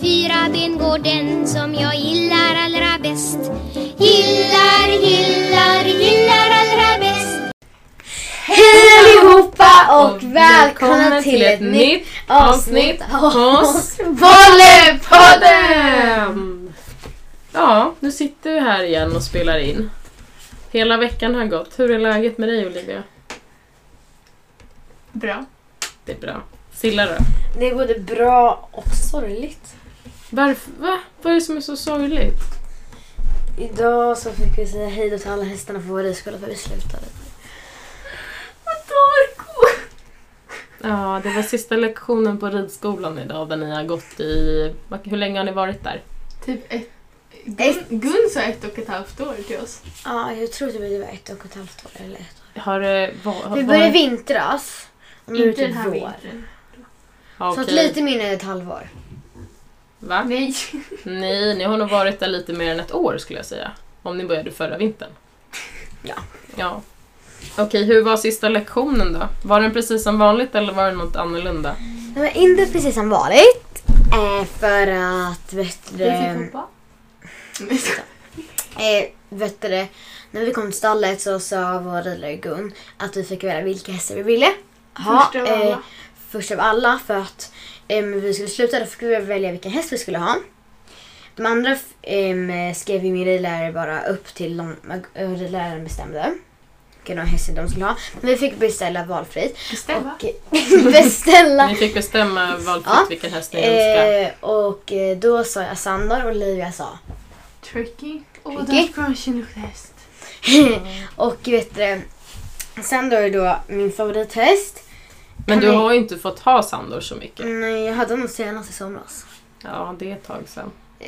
fyra ben går den som jag gillar allra bäst. Gillar, gillar, gillar allra bäst. Hej allihopa och välkomna till ett nytt avsnitt av oss. Volleypodden! Ehm, Ja, nu sitter vi här igen och spelar in. Hela veckan har gått. Hur är läget med dig Olivia? Bra. Det är bra. Silla då? Det är både bra och sorgligt. Varför? Va? Vad är det som är så sorgligt? Idag så fick vi säga hej då till alla hästarna på vår ridskola för vi slutade. Ja, det var sista lektionen på ridskolan idag där ni har gått i... Hur länge har ni varit där? Typ ett... Ett. Gun, Gun sa ett och ett halvt år till oss. Ja, jag tror typ att det var ett och ett halvt år eller ett år. Har det va- har Vi började i varit- vintras. Och nu är det Inte den typ här vår. vintern. Ja, Så att okej. lite mindre än ett halvår. Va? Ah. Nej. Nej, ni har nog varit där lite mer än ett år skulle jag säga. Om ni började förra vintern. Ja. ja. Okej, hur var sista lektionen då? Var den precis som vanligt eller var det något annorlunda? Nej, men inte precis som vanligt. Eh, för att vet du, Vi fick hoppa. Nej, så- Eh, vet du, det, när vi kom till stallet så sa vår ridlärare Gun att vi fick välja vilka hästar vi ville ha. Först av alla. Eh, först av alla för att em, vi skulle sluta då fick vi välja vilken häst vi skulle ha. De andra f- em, skrev ju min ridlärare bara upp till de eh, ridläraren bestämde vilken häst de skulle ha. Men vi fick beställa valfritt. Bestämma. Och, eh, beställa Ni fick bestämma valfritt Ja. vilken häst ni önskade. Eh, och eh, då sa jag Sandor och Olivia sa. Tricky. Åh, Tricky. den scrunchen luktar häst. Eh, och vet du, Sandor är då min favorithäst. Men du kan vi- Mm. har ju inte fått ha Sandor så mycket. Nej, jag hade nog senast i somras. Ja, det är ett tag sedan. Eh,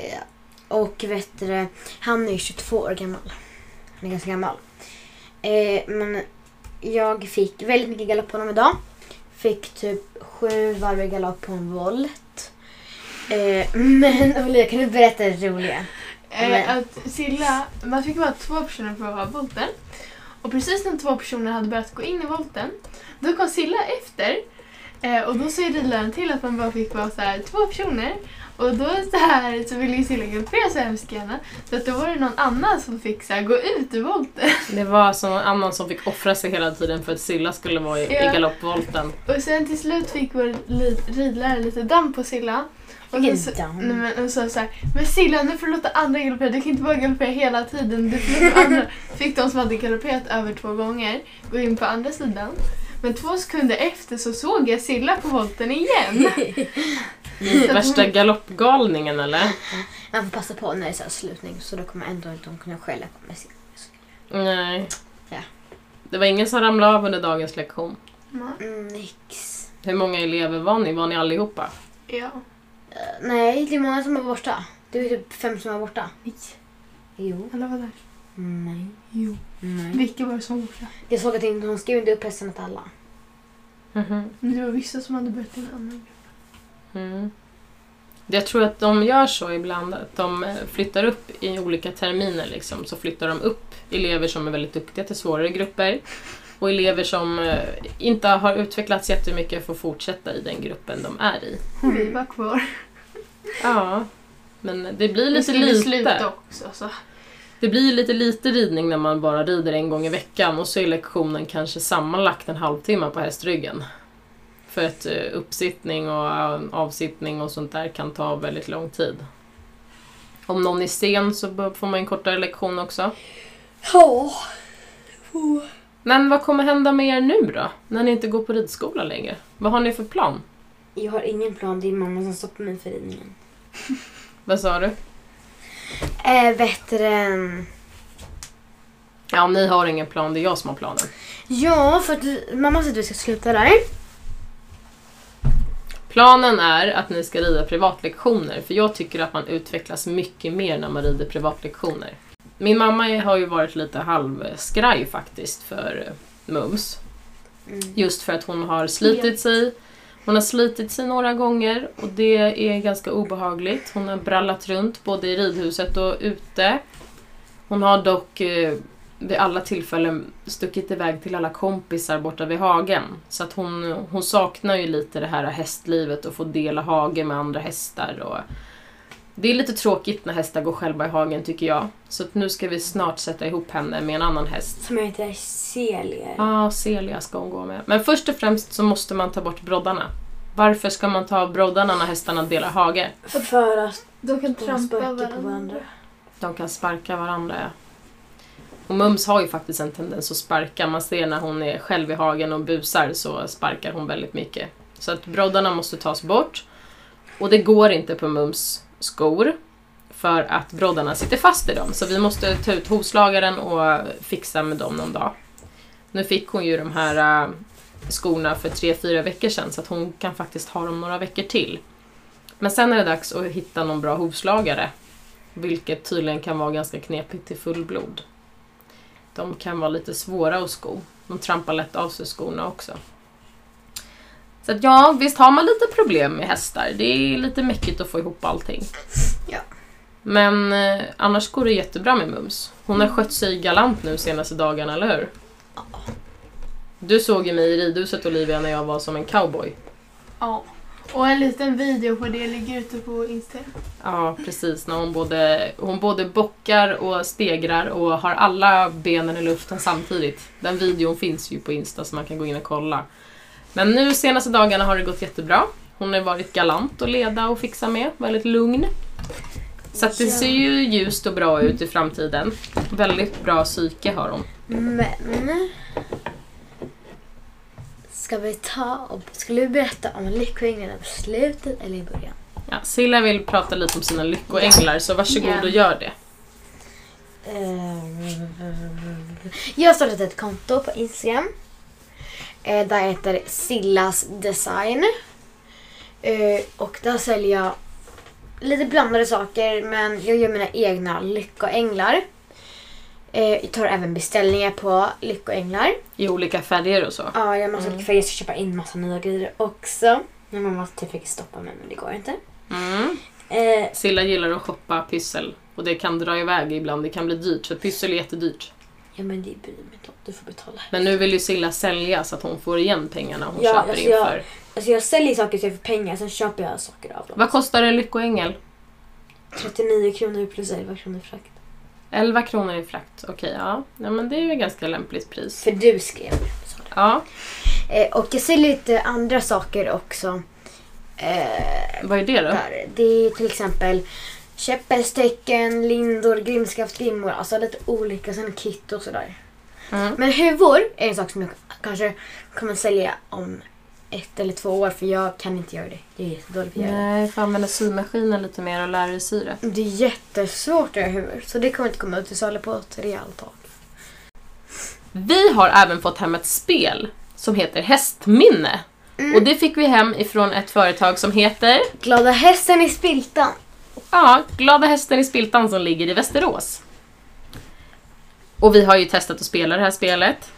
Och vet du, det, han är ju 22 år gammal. Han är ganska gammal. Eh, men jag fick väldigt mycket galopp på honom idag. Fick typ sju varv i galopp på en volt. Eh, men Olivia, kan du berätta det roliga? Eh, Men- att Silla, man fick vara två personer för att ha volten. Och precis när två personer hade börjat gå in i volten, då kom Silla efter. Eh, och då sa ju ridläraren till att man bara fick vara så här, två personer. Och då så, här, så ville ju Silla galoppera så hemskt gärna. Så att då var det någon annan som fick så här, gå ut ur volten. Det var alltså någon annan som fick offra sig hela tiden för att Silla skulle vara i, i Ja. galoppvolten. Och sen till slut fick vår li- ridlärare lite damm på Silla. Och Vilken då så- damm. Nej, men, och så, så här, men Silla nu får du låta andra galoppera, du kan inte bara galoppera hela tiden. Du får låta andra. Fick de som hade galopperat över två gånger gå in på andra sidan. Men två sekunder efter så såg jag Silla på volten igen. Så att Värsta hon- galoppgalningen eller? Man får passa på när det är så här slutning så då kommer ändå inte de kunna skälla på mig sen. Nej. Ja. Det var ingen som ramlade av under dagens lektion. Mm, nix. Hur många elever var ni? Var ni allihopa? Ja. Eh, nej, det är många som var borta. Det är typ fem som var borta. Nej, Jo. alla var där. Nej. Jo. Nej. Vilka var det som var borta? Jag såg att inte- hon skrev inte upp hästen åt alla. Mm-hmm. Men det var vissa som hade börjat i en annan grupp. Mm. Jag tror att de gör så ibland, att de eh, flyttar upp i olika terminer. Liksom, så flyttar de upp elever som är väldigt duktiga till svårare grupper. Och elever som eh, inte har utvecklats jättemycket får fortsätta i den gruppen de är i. Och vi var kvar. Ja, men det blir lite skulle lite. sluta också. Så. Det blir lite lite ridning när man bara rider en gång i veckan och så är lektionen kanske sammanlagt en halvtimme på hästryggen. För att eh, uppsittning och eh, avsittning och sånt där kan ta väldigt lång tid. Om någon är sen så bör- får man en kortare lektion också. Ja. Men vad kommer hända med er nu då? När ni inte går på ridskola längre? Vad har ni för plan? Jag har ingen plan, det är mamma som stoppar mig för ridningen. Vad sa du? Eh, bättre än... Ja, ni har ingen plan, det är jag som har planen. Ja, för att du- mamma sa att vi ska sluta där. Planen är att ni ska rida privatlektioner, för jag tycker att man utvecklas mycket mer när man rider privatlektioner. Min mamma har ju varit lite halvskraj faktiskt för eh, mums. Mm. Just för att hon har slitit sig. Hon har slitit sig några gånger och det är ganska obehagligt. Hon har brallat runt både i ridhuset och ute. Hon har dock eh, vid alla tillfällen stuckit iväg till alla kompisar borta vid hagen. Så att hon, hon saknar ju lite det här hästlivet och få dela hage med andra hästar och Det är lite tråkigt när hästar går själva i hagen tycker jag. Så att nu ska vi snart sätta ihop henne med en annan häst. Som heter Celia. Ja, ah, Celia ska hon gå med. Men först och främst så måste man ta bort broddarna. Varför ska man ta av broddarna när hästarna delar hage? För att De kan de trampa sparkar varandra. på varandra. De kan sparka varandra. ja. Och Mums har ju faktiskt en tendens att sparka. Man ser när hon är själv i hagen och busar så sparkar hon väldigt mycket. Så att broddarna måste tas bort. Och det går inte på Mums skor för att broddarna sitter fast i dem. Så vi måste ta ut hovslagaren och fixa med dem någon dag. Nu fick hon ju de här äh, skorna för tre fyra veckor sedan så att hon kan faktiskt ha dem några veckor till. Men sen är det dags att hitta någon bra hovslagare vilket tydligen kan vara ganska knepigt till fullblod. De kan vara lite svåra att sko. De trampar lätt av sig skorna också. Så att ja, visst har man lite problem med hästar. Det är lite mäckigt att få ihop allting. Ja. Men eh, annars går det jättebra med Mums. Hon har skött sig galant nu senaste dagarna, eller hur? Du såg ju mig i ridhuset Olivia när jag var som en cowboy. Ja. Och en liten video på det ligger ute på Instagram. Ja, precis. När hon, både, hon både bockar och stegrar och har alla benen i luften samtidigt. Den videon finns ju på Insta så man kan gå in och kolla. Men nu senaste dagarna har det gått jättebra. Hon har varit galant att leda och fixa med, väldigt lugn. Så att det ser ju ljust och bra ut i framtiden. Väldigt bra psyke har hon. Men... Ska vi ta och... Skulle vi berätta om lyckoänglarna på slutet eller i början? Ja, Silla vill prata lite om sina lyckoänglar så varsågod och gör det. Ehm. Jag har startat ett konto på Instagram. Eh, Där heter Sillas Design. Eh, Och där säljer jag lite blandade saker men jag gör mina egna lyckoänglar. Eh, Jag tar även beställningar på lyckoänglar. I olika färger och så. Ja, jag har Mm. massa olika färger. Jag ska köpa in massa nya grejer också. Men mamma typ fick stoppa mig men det går inte. Mm. Eh, Silla gillar att shoppa pyssel och det kan dra iväg ibland, det kan bli dyrt för pyssel är jättedyrt. Ja men det bryr mig inte om. Du får betala. Men nu vill ju Silla sälja så att hon får igen pengarna hon Ja, köper alltså in jag- för. Alltså jag säljer saker så jag får pengar, sen köper jag saker av dem. Vad kostar en lyckoängel? 39 kronor plus 11 kronor frakt. 11 kronor i frakt, okej ja. ja. men det är ju ett ganska lämpligt pris. För du skrev så. Ja, Eh, och jag säljer lite andra saker också. Eh, vad är det då? där. Det är till exempel käppelstecken, lindor, grimskaft, grimmor. Alltså lite olika, sen kit och sådär. Mm. Men huvor är en sak som jag kanske kommer sälja om ett eller två år för jag kan inte göra det. Jag är jättedålig på att göra det. Nej, får använda symaskinen lite mer och lära dig sy det. Det är jättesvårt att göra huvor så det kommer inte komma ut till salu på ett rejält tag. Vi har även fått hem ett spel som heter Hästminne. Och det fick vi hem ifrån ett företag som heter Glada hästen i spiltan. Ja, Glada hästen i Spiltan som ligger i Västerås. Och vi har ju testat att spela det här spelet.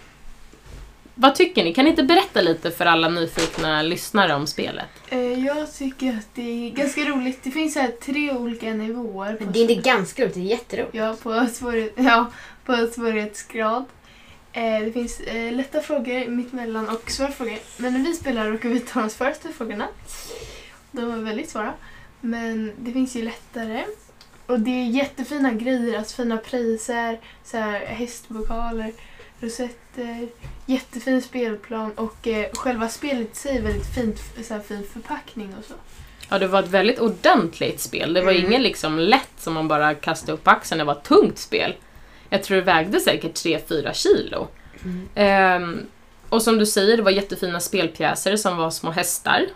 Vad tycker ni? Kan ni inte berätta lite för alla nyfikna lyssnare om spelet? Eh, Jag tycker att det är ganska roligt. Det finns så här tre olika nivåer. På Men det är inte ganska roligt, det är jätteroligt. Ja, på, svårighet, ja, på svårighetsgrad. Eh, det finns eh, lätta frågor, mittemellan och svåra frågor. Men när vi spelar råkar vi ta de svåraste frågorna. De är väldigt svåra. Men det finns ju lättare. Och det är jättefina grejer, alltså fina priser, så här hästbokaler, rosetter, jättefin spelplan och eh, själva spelet i sig är väldigt fint, så här fin förpackning och så. Ja, det var ett väldigt ordentligt spel. Det var Mm. ingen liksom lätt som man bara kastade upp på axeln. Det var ett tungt spel. Jag tror det vägde säkert 3-4 kilo. Mm. Ehm, och som du säger, det var jättefina spelpjäser som var små hästar.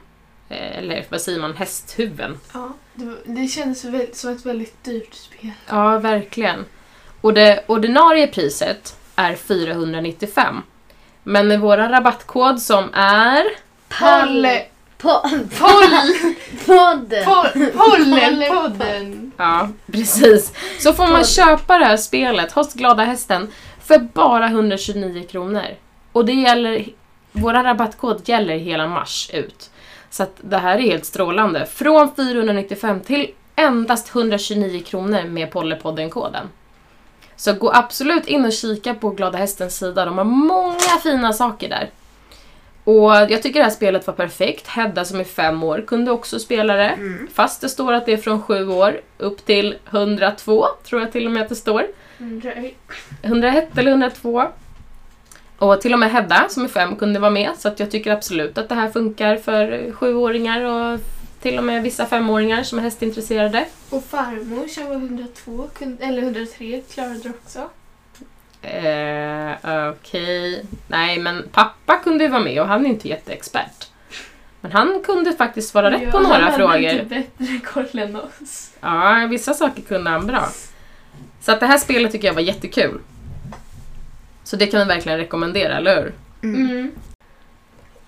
Eh, eller vad säger man? Hästhuven. Ja, det, det kändes väl, som ett väldigt dyrt spel. Ja, verkligen. Och det ordinarie priset är 495. Men med våra rabattkod som är... Palle! Po- Palle! podden. Pol- Pollenpodden! Ja, precis. Så får man Kod. köpa det här spelet hos Glada Hästen för bara 129 kronor. Och det gäller... Våra rabattkod gäller hela mars ut. Så att det här är helt strålande. Från 495 till endast 129 kronor med Pollepodden-koden. Så gå absolut in och kika på Glada Hästens sida. De har många fina saker där. Och jag tycker det här spelet var perfekt. Hedda som är fem år kunde också spela det. Mm. Fast det står att det är från sju år upp till 102, tror jag till och med att det står. Undrar- 101 eller 102. Och till och med Hedda som är fem kunde vara med, så att jag tycker absolut att det här funkar för eh, sjuåringar och till och med vissa femåringar som är hästintresserade. Och farmor som var 102, kunde, eller 103, klarade det också. Eh, Okej. Nej, men pappa kunde ju vara med och han är inte jätteexpert. Men han kunde faktiskt svara rätt på Ja, några Han frågor. hade typ inte bättre koll än oss. Ja, vissa saker kunde han bra. Så att det här spelet tycker jag var jättekul. Så det kan vi verkligen rekommendera, eller hur? Mm.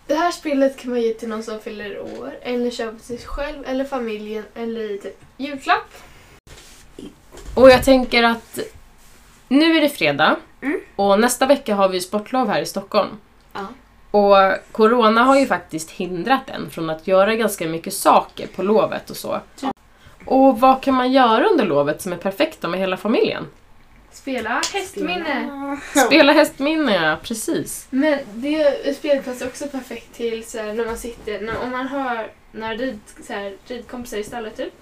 Det här spelet kan man ge till någon som fyller år, eller köpa till sig själv, eller familjen, eller i typ julklapp. Och jag tänker att nu är det fredag Mm. och nästa vecka har vi sportlov här i Stockholm. Ja. Och corona har ju faktiskt hindrat en från att göra ganska mycket saker på lovet och så. Ja. Och vad kan man göra under lovet som är perfekt då med hela familjen? Spela hästminne! Spela hästminne, precis. Men det spelet passar också perfekt till så här, när man sitter, när, om man har några rid, så här, ridkompisar i stallet typ.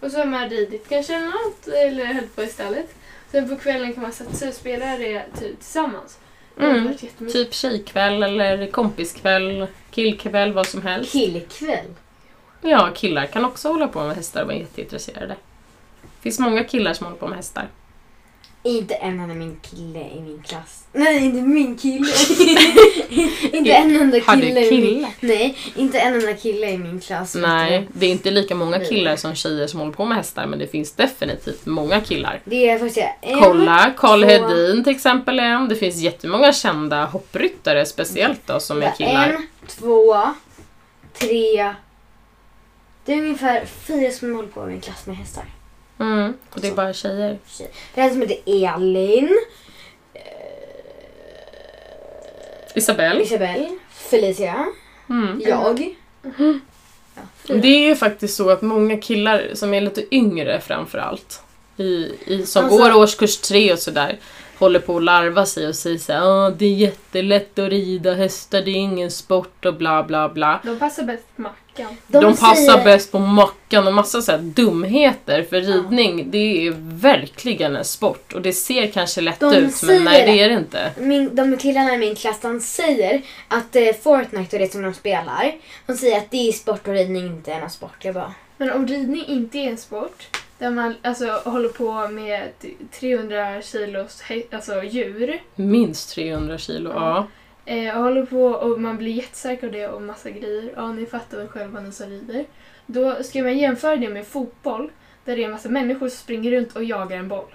Och så har man ridit kanske eller något, eller höll på i stallet. Sen på kvällen kan man sätta sig och spela det typ, tillsammans. Det har Mm. varit jättemysigt. Typ tjejkväll eller kompiskväll, killkväll, vad som helst. Killkväll. Ja, killar kan också hålla på med hästar och vara jätteintresserade. Det finns många killar som håller på med hästar. Inte en enda min kille i min klass. Nej, inte min kille. inte en enda Har du kille. i kille? Min, nej, inte en enda kille i min klass. Nej, det är inte lika många Nej. killar som tjejer som håller på med hästar, men det finns definitivt många killar. Det är faktiskt en. Kolla, Karl två. Hedin till exempel är en. Det finns jättemånga kända hoppryttare, speciellt då, som är killar. En, två, tre. Det är ungefär fyra som håller på med min klass med hästar. Mm, och det är bara tjejer. Det är en som heter Elin, Isabelle. Isabel, Felicia, Mm. jag. Det är ju faktiskt så att många killar som är lite yngre framförallt, i, i, som Alltså- går årskurs tre och sådär, håller på att larva sig och säger såhär "Ah, det är jättelätt att rida hästar, det är ingen sport och bla bla bla. De passar bäst på mackan. De, passar bäst på mackan och massa så här dumheter för ridning det är verkligen en sport och det ser kanske lätt De ut säger men nej det. det är det inte. Min, de killarna i min klass de säger att eh, Fortnite och det som de spelar, de säger att det är sport och ridning inte är någon sport. Jag bara, Men om ridning inte är en sport, där man alltså, håller på med 300 kilos hä- alltså, djur, Minst 300 kilo, Ja. ja. eh, och håller på och man blir jättestark av det och massa grejer, ja ni fattar väl själva ni som rider. Då ska man jämföra det med fotboll, där det är en massa människor som springer runt och jagar en boll.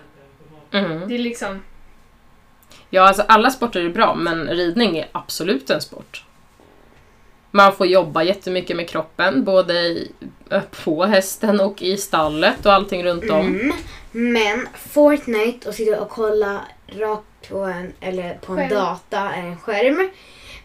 Mm. Det är liksom, Ja, alltså alla sporter är bra, men ridning är absolut en sport. Man får jobba jättemycket med kroppen, både i, eh, på hästen och i stallet och allting runt om. mm. Men Fortnite och sitta och kolla rakt på en, eller på en Skärm. data, en skärm,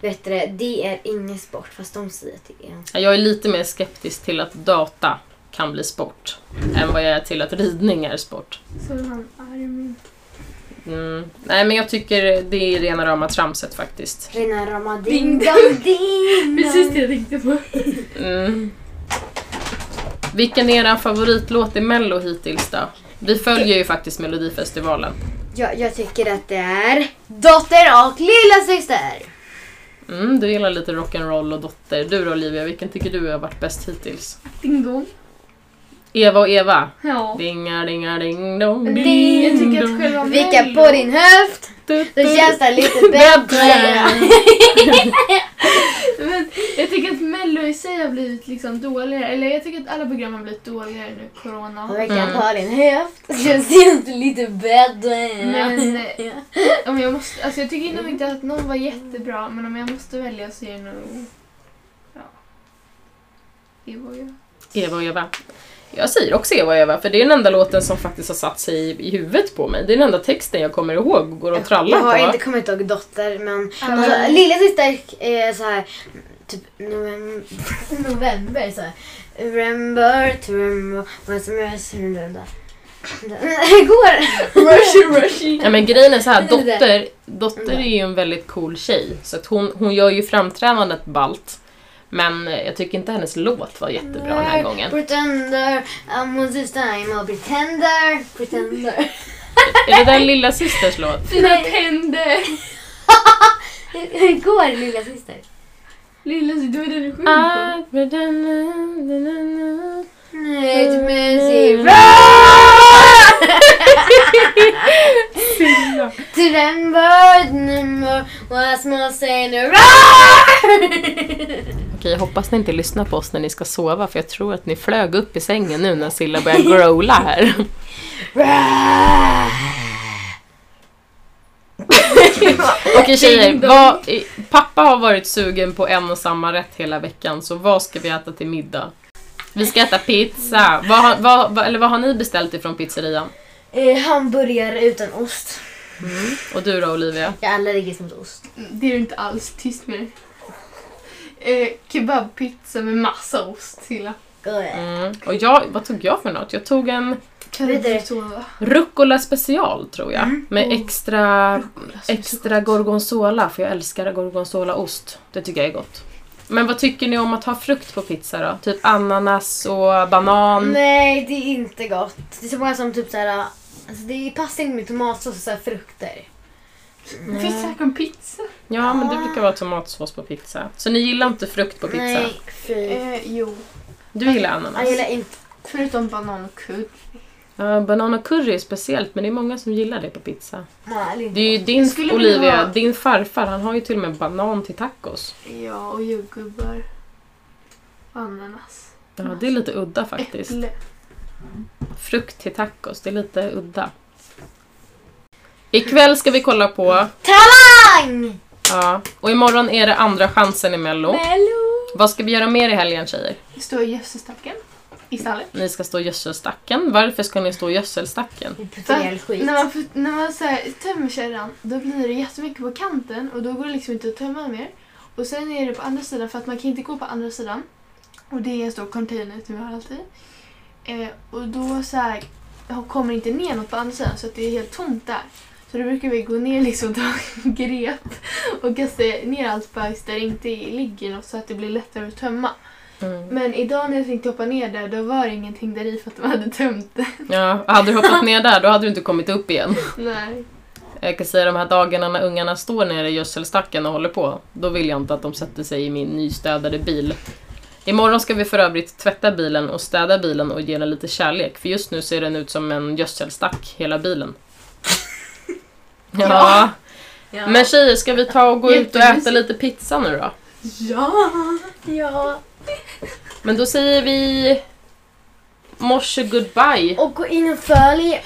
vet du, det, det är ingen sport fast de säger att det är en Ja, Jag är lite mer skeptisk till att data kan bli sport, än vad jag är till att ridning är sport. som han Armin. Mm. Nej, men jag tycker det är rena rama tramset faktiskt. Rena rama Ding ding dong ding Precis det jag tänkte på. Mm. Vilken är er favoritlåt i Mello hittills då? Vi följer ju faktiskt Melodifestivalen. Jag, jag tycker att det är Dotter och lilla syster. Mm, du gillar lite rock'n'roll och dotter. Du då Olivia, vilken tycker du har varit bäst hittills? Ding dong. Eva och Eva. Ja. Dinga, dinga, ding dong, Ding. Jag ding tycker att dong. själva Vicka Mello- på din höft, Du, då du. känns det lite bättre. Men jag tycker att Mello i sig har blivit liksom dåligare. Eller jag tycker att alla program har blivit dåligare nu, corona. Vicka på din höft, då känns det lite bättre. Men eh, om jag måste, alltså jag tycker nog inte att någon var jättebra, men om jag måste välja så är det nog... Ja. Eva och jag. Eva och Eva. Jag säger också Eva och Eva, för det är den enda låten som faktiskt har satt sig i- i huvudet på mig. Det är den enda texten jag kommer ihåg och går och jag har trallar inte på. kommit ihåg dotter men men- alltså, lilla syster är så här typ november, november så här. Remember to remember what's the matter, remember. Det går! Rushy, rushy. Ja, men grejen är så här, Det Mm. är det. dotter, dotter är ju en väldigt cool tjej. Så att hon, hon gör ju framträdandet balt. Men eh, jag tycker inte hennes låt var jättebra den här gången. Pretender, I'm on this time, I'll pretender, pretender. Är det den lilla systers låt? Dina Nej. tänder. Hur går det lilla syster? Lilla sy- det var det du sjöng på. I pretend- Nöjd typ med sin To them burden more was more saying Okej, jag hoppas ni inte lyssnar på oss när ni ska sova för jag tror att ni flög upp i sängen nu när Silla börjar growla här. Okej tjejer, vad, i- pappa har varit sugen på en och samma rätt hela veckan så vad ska vi äta till middag? Vi ska äta pizza. Vad, har- vad, vad, eller vad har ni beställt ifrån pizzerian? eh, Hamburgare utan ost. Mm. Och du då Olivia? Jag är allergisk mot ost. Det är du inte alls tyst med. Eh, kebabpizza med massa ost, Silla. Går. Mm. Och jag, vad tog jag för något? Jag tog en Kan Det är inte det. du sova? rucola special tror jag. Med Oh. extra, Alltså, extra gorgonzola för jag älskar gorgonzolaost. Det tycker jag är gott. Men vad tycker ni om att ha frukt på pizza då? Typ ananas och banan? Nej, det är inte gott. Det är så många som typ såhär, alltså det passar inte med tomatsås och såhär frukter. Det finns säkert en pizza. Ja, men det brukar vara tomatsås på pizza. Så ni gillar inte frukt på pizza? Mm. Nej, fy. Eh, jo. Du gillar Jag ananas? gillar inte. Förutom banan och kudd. Ja, banan och curry är speciellt, men det är många som gillar det på pizza. Nej, eller inte. Det är ju din, Jag skulle vilja Olivia, ha- din farfar, han har ju till och med banan till tacos. Ja, och jordgubbar. Ananas. Ja, det är lite udda faktiskt. Äpple. Frukt till tacos, det är lite udda. Ikväll ska vi kolla på, Talang! ja, och imorgon är det andra chansen i Mello. Mello! Vad ska vi göra mer i helgen tjejer? Det står i gödsestacken. I stallet. Ni ska stå i gödselstacken. Varför ska ni stå i gödselstacken? Vi puttar ihjäl skit. När man, fut- när man så här, tömmer kärran, då blir det jättemycket på kanten och då går det liksom inte att tömma mer. Och sen är det på andra sidan, för att man kan inte gå på andra sidan. Och det är en stor container som vi har alltid. Eh, och då så här, kommer det inte ner något på andra sidan så att det är helt tomt där. Så då brukar vi gå ner liksom och ta en grep och kasta ner allt bajs där det inte ligger något så att det blir lättare att tömma. Mm. Men idag när jag tänkte hoppa ner där, då var det ingenting där i för att de hade tömt det. Ja, hade du hoppat ner där, då hade du inte kommit upp igen. Nej. Jag kan säga de här dagarna när ungarna står nere i gödselstacken och håller på, då vill jag inte att de sätter sig i min nystädade bil. Imorgon ska vi för övrigt tvätta bilen och städa bilen och ge den lite kärlek, för just nu ser den ut som en gödselstack, hela bilen. Ja. Ja. Men tjejer, ska vi ta och gå ut och Jättemysigt. äta lite pizza nu då? Ja! Ja. Men då säger vi... Morse goodbye. Och gå in och följ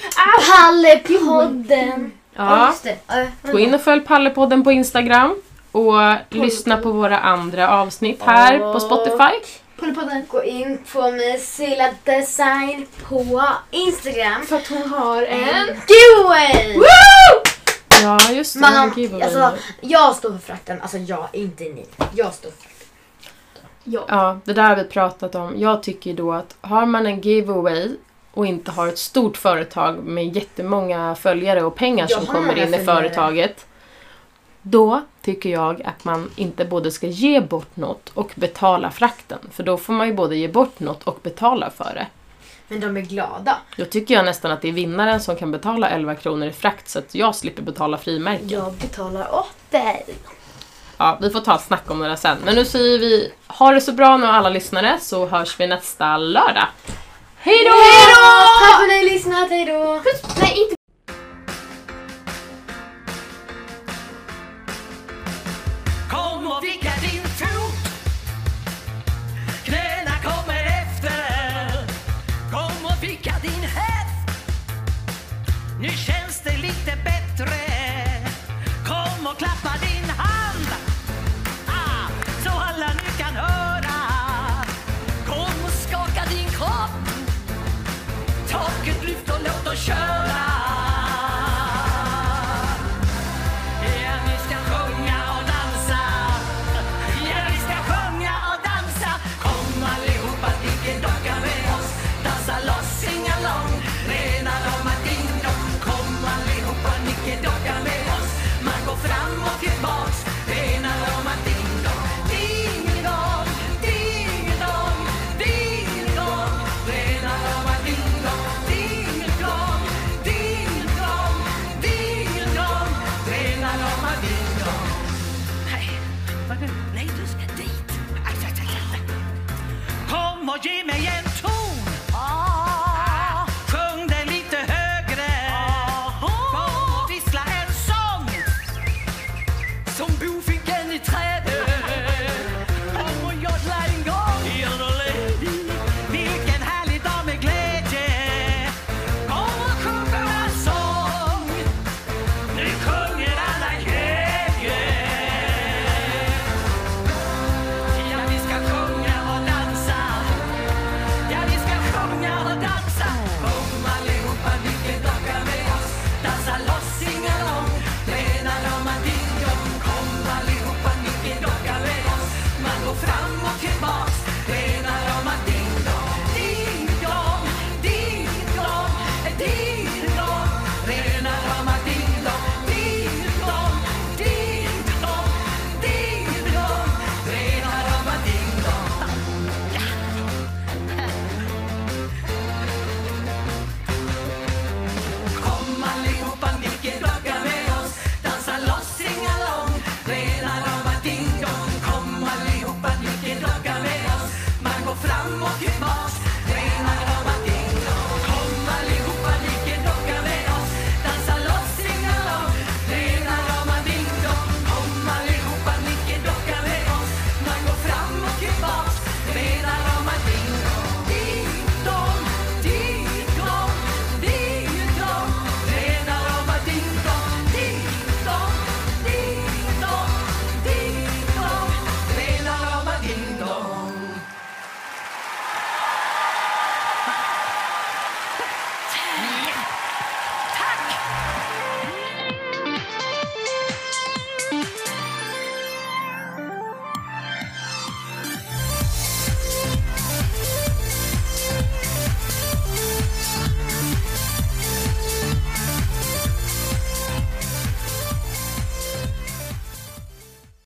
Pallepodden. Ja, Ja. just det. Ja, Gå in och följ Pallepodden på Instagram och lyssna på våra andra avsnitt här på Spotify. Pollypodden. Gå in på Missilla Design på Instagram. För att hon har en... Giveaway! Ja, just det. Man, Gud, vad alltså, vi- jag står för frakten. Alltså jag, inte ni. Jag står för frakten. Ja. Ja, det där har vi pratat om. Jag tycker ju då att har man en giveaway och inte har ett stort företag med jättemånga följare och pengar Jag som har kommer många in i följare. företaget. Då tycker jag att man inte både ska ge bort något och betala frakten. För då får man ju både ge bort något och betala för det. Men de är glada. Då tycker jag nästan att det är vinnaren som kan betala 11 kronor i frakt så att jag slipper betala frimärken. Jag betalar åt dig. Ja, vi får ta ett snack om det där sen. Men nu säger vi ha det så bra nu alla lyssnare så hörs vi nästa lördag. Hej då! Tack för att ni har lyssnat, hejdå! Nej, inte Kom och vicka din fot Knäna kommer efter Kom och vicka din häst Nu känns det lite bättre Ah,